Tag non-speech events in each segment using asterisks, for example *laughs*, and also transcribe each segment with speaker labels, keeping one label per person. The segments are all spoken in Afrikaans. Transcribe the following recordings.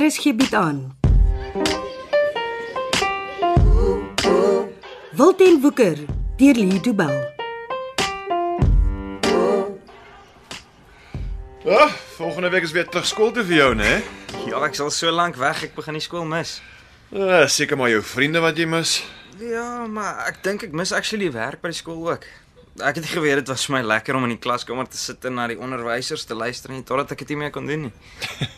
Speaker 1: RSG bied Er aan. Wilten Woeker deur Lee Du Bell.
Speaker 2: Ag, volgende week is weer terug skool toe vir jou, né?
Speaker 3: Ja, ek sal so lank weg, ek begin die skool mis.
Speaker 2: Uh, seker maar jou vriende wat jy mis.
Speaker 3: Ja, maar ek dink ek mis actually werk by die skool ook. Ek het nie geweet dit was vir my lekker om in die klaskamer te sit en na die onderwysers te luister nie totdat ek dit nie meer kon doen nie.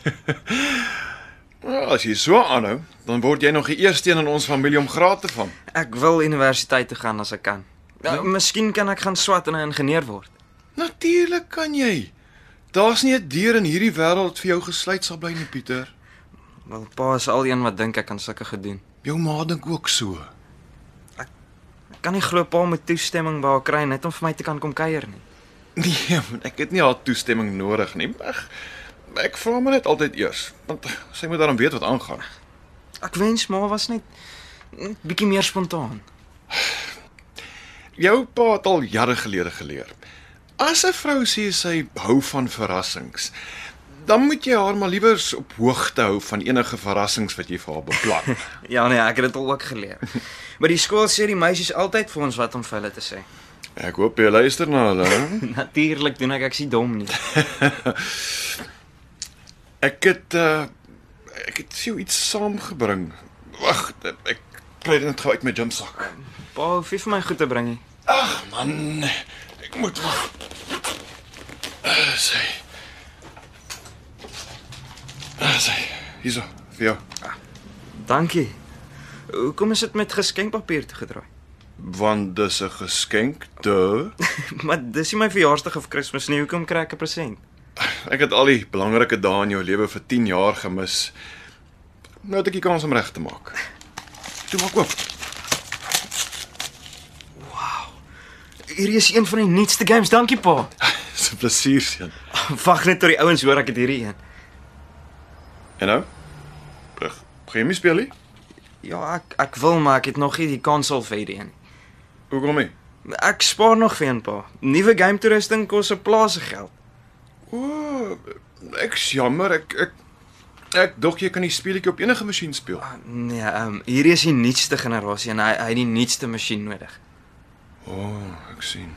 Speaker 2: Well, as jy so aanhou, dan word jy nog die eerste een in ons familie om graad te van.
Speaker 3: Ek wil universiteit toe gaan as ek kan. Nou, miskien kan ek gaan swat en 'n ingenieur word.
Speaker 2: Natuurlik kan jy. Daar's nie 'n deur in hierdie wêreld vir jou gesluit sal bly nie, Pieter.
Speaker 3: Wel, pa is al een wat dink ek kan sulke gedoen.
Speaker 2: Jou ma dink ook so.
Speaker 3: Ek kan nie glo pa moet toestemming by haar kry net om vir my te kan kom kuier nie.
Speaker 2: Nee, man, ek het nie haar toestemming nodig nie. Ag, ek vra maar net altyd eers, want sy moet daarom weet wat aangaan.
Speaker 3: Ek wens ma was net net bietjie meer spontaan.
Speaker 2: Jou pa het al jare gelede geleer. As 'n vrou sê sy hou van verrassings, dan moet jy haar maar liewers op hoogte hou van enige verrassings wat jy vir haar beplan.
Speaker 3: Ja nee, ek het dit al ook *laughs* geleer. By die skool sê die meisies altyd vir ons wat om vir hulle te sê.
Speaker 2: ek hoop jy luister na hulle. hè?
Speaker 3: Natuurlik doen ek ek is nie dom nie.
Speaker 2: Ek het uh, ek het sou iets saamgebring. Wag, ek kry dit net gou uit my jumpsak.
Speaker 3: Pa, hoef nie vir my goed te bring nie.
Speaker 2: Ag man, ek moet wag. Uh, sy. Uh, sy. Hierso, vir jou.
Speaker 3: Dankie. Hoekom is dit met geskenkpapier toegedraai?
Speaker 2: Want dis 'n geskenk. Duh.
Speaker 3: *laughs* maar dis nie my verjaarsdag of Kersfees nie. Hoekom kry ek 'n present?
Speaker 2: Ek het al die belangrike dae in jou lewe vir 10 jaar gemis. Nou het ek die kans om reg te maak. Toe maak oop. *laughs*
Speaker 3: Hierdie is een van die nuutste games. Dankie, pa. *laughs*
Speaker 2: Dis 'n plesier seun.
Speaker 3: Wag net tot die ouens hoor ek het hierdie een.
Speaker 2: En nou? Terug. Gaan jy my speel nie?
Speaker 3: Ja, ek ek wil maar ek het nog nie die konsol vir hierdie een.
Speaker 2: Hoekom nie?
Speaker 3: Ek spaar nog vir een pa. Nuwe game toerusting kos 'n plaas se geld.
Speaker 2: O, ek is jammer ek ek ek dog jy kan die speletjie op enige masjien speel.
Speaker 3: Ah, Nee, ehm um, hierdie is die nuutste generasie en hy hy het die nuutste masjien nodig.
Speaker 2: O, oh, ek sien.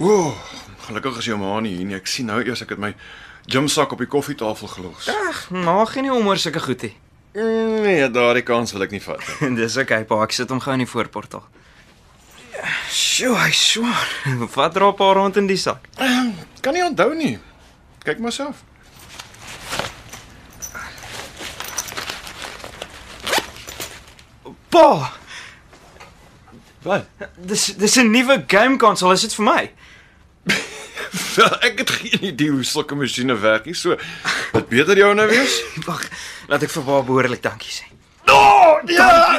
Speaker 2: O, gelukkig is jou ma nie hier nie. Ek sien nou eers ek het my gymsak op die koffietafel gelos.
Speaker 3: Ag, maak geen nie om oor sulke goed nie. *laughs*
Speaker 2: Nee, daardie kans wil ek nie vat nie.
Speaker 3: Dis okay, pa. Ek sit hom gou in die voorportaal. Sjoe, hy swaar. *laughs* Wat dra pa rond in die sak?
Speaker 2: Kan nie onthou nie. Kyk maar self.
Speaker 3: Pa,
Speaker 2: Wat?
Speaker 3: dis dis 'n nuwe game console, is dit vir my? *laughs*
Speaker 2: Wel, *laughs* ek het geen idee hoe sulke masjiene werk nie. So, dit beter jou nou *laughs* wees.
Speaker 3: Wag, laat ek vir pa behoorlik dankie sê. *laughs*
Speaker 2: Oh,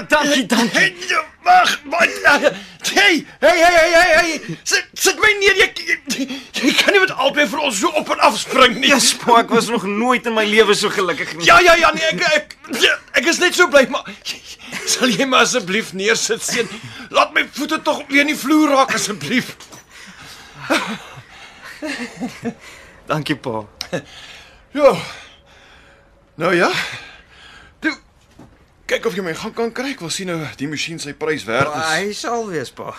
Speaker 3: dankie, dankie.
Speaker 2: Wag, wat? Hey, hey, hey, hey, hey. hey. Sit sit my neer. Jy, jy, jy kan nie met albei vir ons so op en af spring nie.
Speaker 3: Yes, pa, ek was nog nooit in my lewe so gelukkig nie.
Speaker 2: Ja, ja, ja, nee, ek ek ek is net so bly, maar sal jy my asseblief neersit seun? Laat my voete tog weer in die vloer raak asseblief.
Speaker 3: Dankie, pa.
Speaker 2: Ja. Nou ja. Toe kyk of jy my gaan kan kry. Ek wil sien nou die masjien sy prys werd
Speaker 3: Pa,
Speaker 2: is.
Speaker 3: hy sal wees, pa.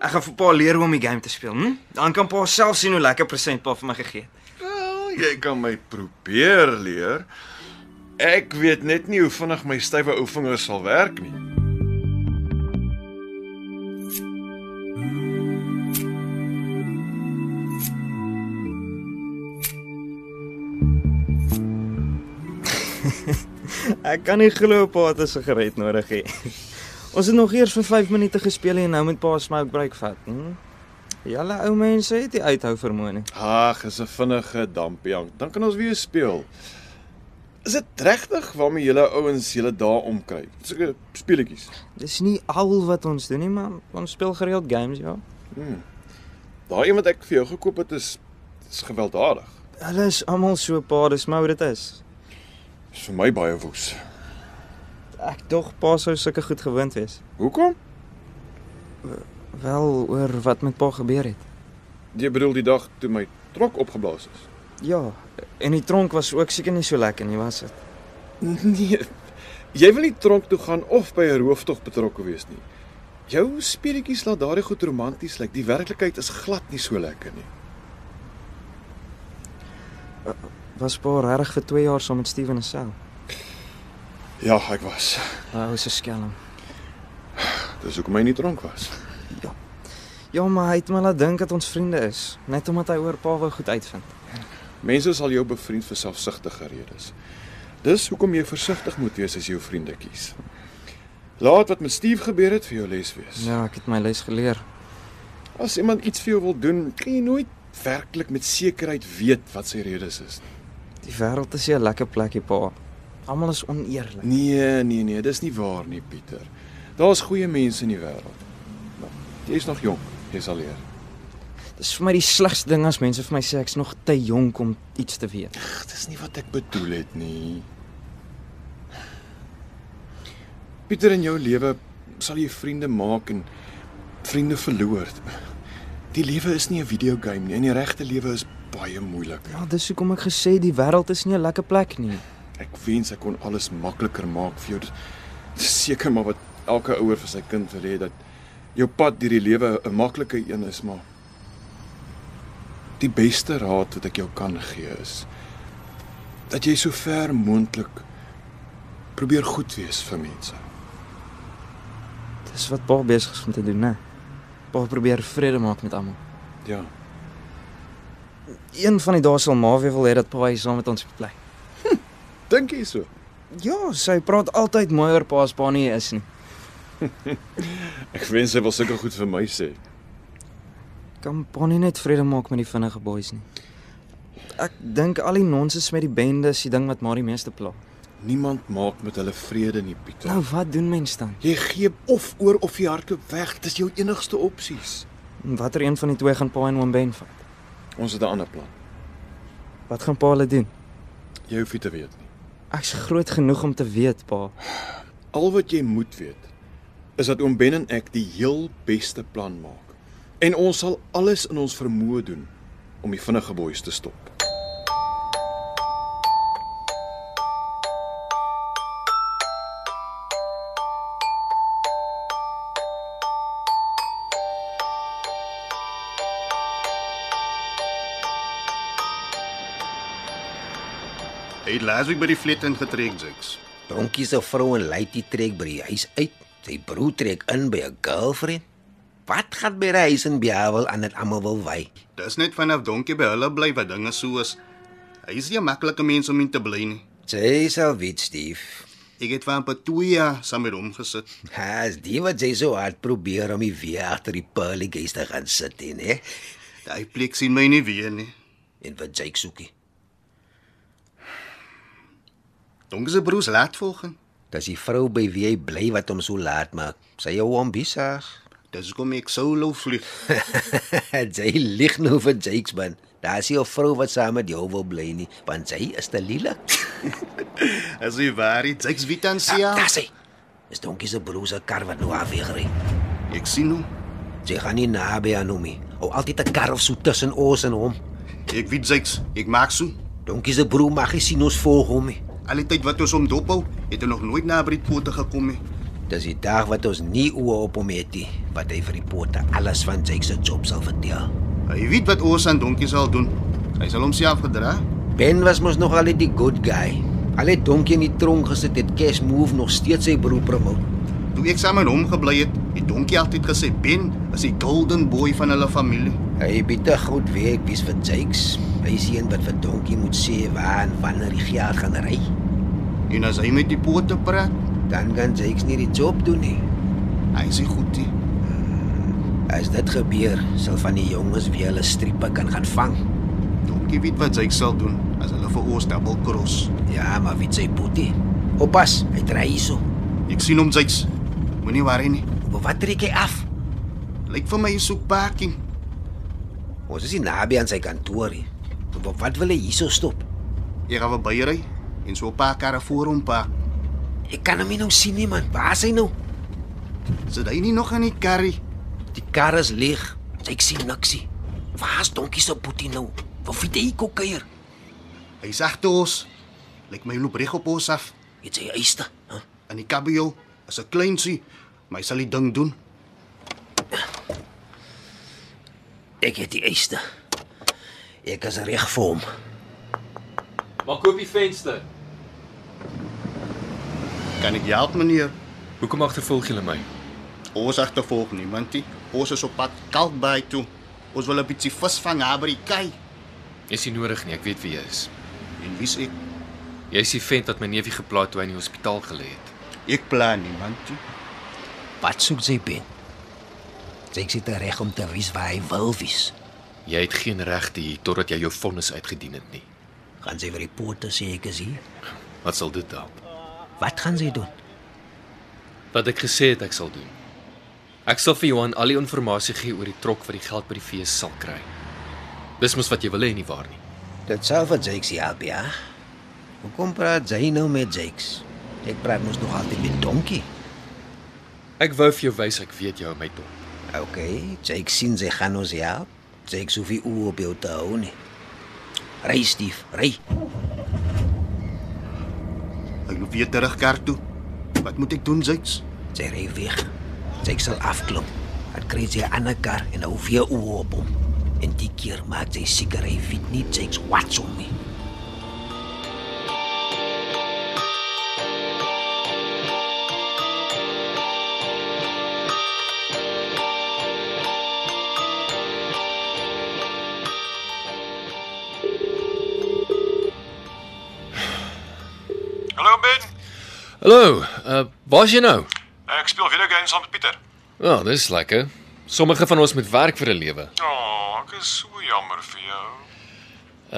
Speaker 3: Ek gaan vir pa leer hoe om die game te speel, hm? Dan kan pa self sien hoe lekker present pa vir my gegee het.
Speaker 2: Wel, jy kan my probeer leer. Ek weet net nie hoe vinnig my stywe ou vingers sal werk nie.
Speaker 3: Ek kan nie glo pa het 'n sigaret nodig hê. *laughs* Ons het nog eers vir 5 minute gespeel en nou moet pa 'n smoke break vat. Hm? Julle ou mense het nie uithou vermoë nie.
Speaker 2: Ag, is 'n vinnige dampiang. Dan kan ons weer speel. Is dit regtig waarmee julle ouens julle dae omkry? Sulke speletjies.
Speaker 3: Dis nie al wat ons doen nie, maar ons speel gereeld games, ja.
Speaker 2: Daai een wat ek vir jou gekoop het is is gewelddadig.
Speaker 3: Hulle is almal so pa, dis maar hoe dit is.
Speaker 2: Is vir my baie woes.
Speaker 3: Ek dog pa sou sulke goed gewoond wees.
Speaker 2: Hoekom?
Speaker 3: Wel oor wat met pa gebeur het.
Speaker 2: Jy bedoel die dag toe my trok opgeblaas is.
Speaker 3: Ja, En die tronk was ook seker nie so lekker nie, was dit?
Speaker 2: Nee. Jy wil nie tronk toe gaan of by 'n rooftog betrokke wees nie. Jou speletjies laat daardie goed romanties lyk. Die werklikheid is glad nie so lekker nie.
Speaker 3: Was pa regtig vir 2 jaar saam met Steven se sel?
Speaker 2: Ja, ek was.
Speaker 3: Hy was 'n skelm.
Speaker 2: Dis hoekom hy nie dronk was.
Speaker 3: Ja, maar hy het my laat dink dat ons vriende is, net omdat hy oor pa wou goed uitvind.
Speaker 2: Mense sal jou bevriend vir selfsugtige redes. Dis hoekom jy versigtig moet wees as jy jou vriende kies. Laat wat met Steve gebeur het vir jou les wees.
Speaker 3: Ja, ek het my les geleer.
Speaker 2: As iemand iets vir jou wil doen, kan jy nooit werklik met sekerheid weet wat sy redes is.
Speaker 3: Die wêreld is 'n lekker plekie, pa. Almal is oneerlik.
Speaker 2: Nee, nee, nee, dis nie waar nie, Pieter. Daar's goeie mense in die wêreld. Maar Jy's nog jonk, jy sal leer.
Speaker 3: Dis vir my die slegste ding as mense vir my sê ek's nog te jonk om iets te weet.
Speaker 2: Ag, dis nie wat ek bedoel het nie. Pieter in jou lewe sal jy vriende maak en vriende verloor. Die lewe is nie 'n videogame nie en die regte lewe is baie moeiliker.
Speaker 3: Ja, dis hoekom ek gesê die wêreld is nie 'n lekker plek nie.
Speaker 2: Ek wens ek kon alles makliker maak vir jou. Dit is seker maar wat elke ouer vir sy kind wil hê dat jou pad deur die lewe 'n maklike een is, maar die beste raad wat ek jou kan gee is dat jy so ver moontlik probeer goed wees vir mense.
Speaker 3: Dis wat pa besig is om te doen, né? Pa probeer vrede maak met almal.
Speaker 2: Ja.
Speaker 3: Een van die dae sal ma weer wil hê dat pa hier saam met ons bly.
Speaker 2: Dink jy so?
Speaker 3: Ja, sy praat altyd mooi oor pa as pa nie is nie.
Speaker 2: Ek wens hy wil sulke goed vir my sê.
Speaker 3: Kan pa nie net vrede maak met die vinnige boys nie. Ek dink al die nonsens met die bende is die ding wat maar die meeste pla.
Speaker 2: Niemand maak met hulle vrede nie, Pieter.
Speaker 3: Nou wat doen mens dan?
Speaker 2: Jy gee of oor of jy hardloop weg. Dis jou enigste opsies.
Speaker 3: Watter een van die twee gaan pa en oom Ben vat?
Speaker 2: Ons het 'n ander plan.
Speaker 3: Wat gaan pa hulle doen?
Speaker 2: Jy hoef nie te weet nie.
Speaker 3: Ek's groot genoeg om te weet, pa.
Speaker 2: Al wat jy moet weet is dat oom Ben en ek die heel beste plan maak. En ons sal alles in ons vermoë doen om die vinnige boeis te stop.
Speaker 4: Hy het laasweek by die flat ingetrek, Jax.
Speaker 5: Donkie se vrou en Lady trek by die huis uit. Sy broer trek in by 'n girlfriend. Wat gaan by die huis in Biawel aan dit almal wil wy?
Speaker 4: Dis net vanaf donkie by hulle bly wat dinge so is. Hy is nie 'n maklike mens om in te bly nie.
Speaker 5: Sy sal weet, Steve.
Speaker 4: Ek het van per 2 jaar saam met hom gesit.
Speaker 5: Haas, die wat sy so hard probeer om die weer agter die pearly gates te gaan sit in, hè?
Speaker 4: Daai plek sien my nie weer nie.
Speaker 5: En wat Jake soekie.
Speaker 4: Donkie se broers laat volgens.
Speaker 5: Dis die vrou by wie hy bly wat hom so laat maak. Sy jou *laughs* ambisag.
Speaker 4: Dis hoekom ek solo vlieg. *laughs*
Speaker 5: sy lieg nou vir Jake's man. Daar's nie 'n vrou wat saam met jou wil bly nie, want sy is te lelik.
Speaker 4: As jy waar iets Jax Vitansia.
Speaker 5: Daar's Ah, hy. Dis donkie se broer se kar wat nou afweegry.
Speaker 4: Ek sien hom.
Speaker 5: Jy gaan nie naby aan hom nie. Hou altyd 'n kar of so tussen ons en hom.
Speaker 4: Ek weet Jax, ek maak so.
Speaker 5: Donkie se broer mag nie sien ons volg hom nie.
Speaker 4: Altyd wat ons hom dophou, het hy nog nooit na by die pote gekom nie.
Speaker 5: Dis die dag wat ons nie oë op hom het nie, wat hy vir die pote alles van Jake se job sal vertel.
Speaker 4: Hy weet wat ons aan donkie sal doen. Hy sal homself gedra.
Speaker 5: Ben was mos nog al die good guy. Al het Donkie in die tronk gesit het Cash Move nog steeds sy broer promote.
Speaker 4: Toe ek saam met hom gebly het, het Donkie altyd gesê Ben is die golden boy van hulle familie.
Speaker 5: Hy bied te goed werk wie's vir Jakes. Hy is die een wat vir Donkie moet sê waar en wanneer die geld gaan ry.
Speaker 4: En as hy met die pote praat,
Speaker 5: Dan kan Jakes nie die job doen nie.
Speaker 4: hy sê goed nie.
Speaker 5: As dit gebeur, sal van die jonges weer hulle striepe kan gaan vang.
Speaker 4: Donkie weet wat hy sal doen as hulle vir ons double cross.
Speaker 5: Ja, maar wie sê Boetie? Oppas, hy dry hierso.
Speaker 4: Ek sien hom jy's. Moenie worry nie.
Speaker 5: Maar wat trek hy af?
Speaker 4: Lyk vir my hy soek parking.
Speaker 5: Ons is nie naby aan sy kantoor nie. Wa- Wat wil hy hierso stop?
Speaker 4: Ek gaan verby ry en so 'n paar karre voor hom park.
Speaker 5: Ek kan hom nie nou sien nie man. Waar is hy nou?
Speaker 4: Sit hy nie nog in die karry?
Speaker 5: Die kar is leeg. Ek sien niksie. Waar is Donkie se Boetie nou? Of het hy gekokeier?
Speaker 4: Hy's agter ons. Lyk my loop reg op ons af.
Speaker 5: Het sy eiste? Huh?
Speaker 4: In die kabeljou is 'n kleinsie, maar hy sal die ding doen.
Speaker 5: Ek het die eiste. Ek is reg vir hom.
Speaker 6: Maak oop die venster.
Speaker 4: Kan ek jou help, meneer?
Speaker 7: Hoekom agtervolg julle my?
Speaker 4: Ons agtervolg niemand nie. Ons is op pad Kalkbaai toe. Ons wil 'n bietjie vis vang daar by die kaai.
Speaker 7: Is nie nodig nie, ek weet wie jy is.
Speaker 4: En wie's ek?
Speaker 7: Jy's die vent wat my neefie geplaat toe hy in die hospitaal gelê het.
Speaker 4: Ek plan niemand nie.
Speaker 5: Wat soek sy bin? Sy sit reg om te wys waar hy wil wees.
Speaker 7: Jy het geen regte hier totdat jy jou vonnis uitgedien het nie.
Speaker 5: Gaan sy vir die poorte sê ek is hier?
Speaker 7: Wat sal dit help?
Speaker 5: Wat gaan sy doen?
Speaker 7: Wat ek gesê het ek sal doen. Ek sal vir Johan al die inligting gee oor die trok wat die geld by die fees sal kry. Dis mos wat jy wil hê nie waar nie.
Speaker 5: Dit sou vir Jakes help, ja. Hoekom praat jy nou met Jakes? Ek praat mos nog altyd met Donkie.
Speaker 7: Ek wou vir jou wys ek weet jou my dop.
Speaker 5: OK, Jakes sien sy gaan ons help. Jakes hoef nie oor op jou te hou nie. Ry, Stief, ry.
Speaker 4: Hy loop weer terug kerk toe. Wat moet ek doen, Zeits?
Speaker 5: Sy ry weg. Jakes sal afklim. Dan kry sy 'n ander kar en hou weer oor op hom. En die keer maak sy seker hy weet nie Jakes wat om nie.
Speaker 8: Hallo Ben.
Speaker 7: Hallo, uh waar's jy nou?
Speaker 8: Ek speel video games saam met Pieter.
Speaker 7: Ja, oh, dis lekker. Sommige van ons moet werk vir 'n lewe.
Speaker 8: Ja, oh, ek is so jammer vir jou.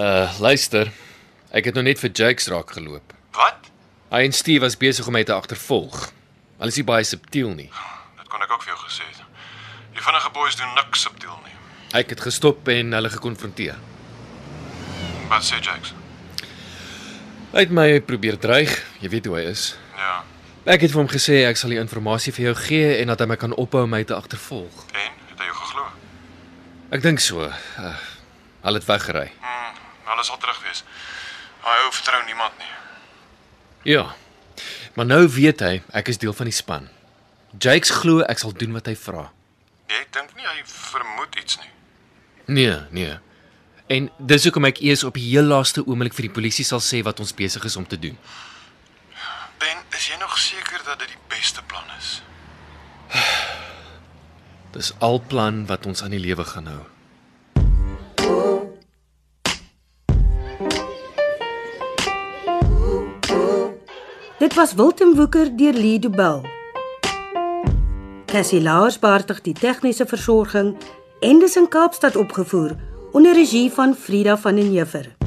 Speaker 7: Uh luister, ek het nou net vir Jakes raak geloop.
Speaker 8: Wat?
Speaker 7: Hy en Steve was besig om my te agtervolg. Hulle is nie baie subtiel nie.
Speaker 8: Dit kon ek ook vir jou gesê het. Die vinnige boeis doen niks subtiel nie.
Speaker 7: Ek het gestop en hulle gekonfronteer.
Speaker 8: Wat sê Jax?
Speaker 7: Hy het my probeer dreig, jy weet hoe hy is.
Speaker 8: Ja.
Speaker 7: Ek het vir hom gesê ek sal die inligting vir jou gee en dat hy my kan ophou om my te agtervolg.
Speaker 8: En het hy jou geglo?
Speaker 7: Ek dink so. Uh, hulle het weggery.
Speaker 8: Hm, hulle sal terug wees. Hy ou vertrou niemand nie.
Speaker 7: Ja. Maar nou weet hy ek is deel van die span. Jakes glo ek sal doen wat hy vra.
Speaker 8: Jy dink nie hy vermoed iets nie.
Speaker 7: Nee, nee. En dis hoekom ek eers op die heel laaste oomblik vir die polisie sal sê wat ons besig is om te doen.
Speaker 8: Ben, is jy nog seker dat dit die beste plan is?
Speaker 7: Dis al plan wat ons aan die lewe gaan hou.
Speaker 1: Dit was Wilten Woeker deur Lee Du Bell. Cassie Lars beheerdig die tegniese versorging en dis in Kaapstad opgevoer onder regie van Frida van den Heever.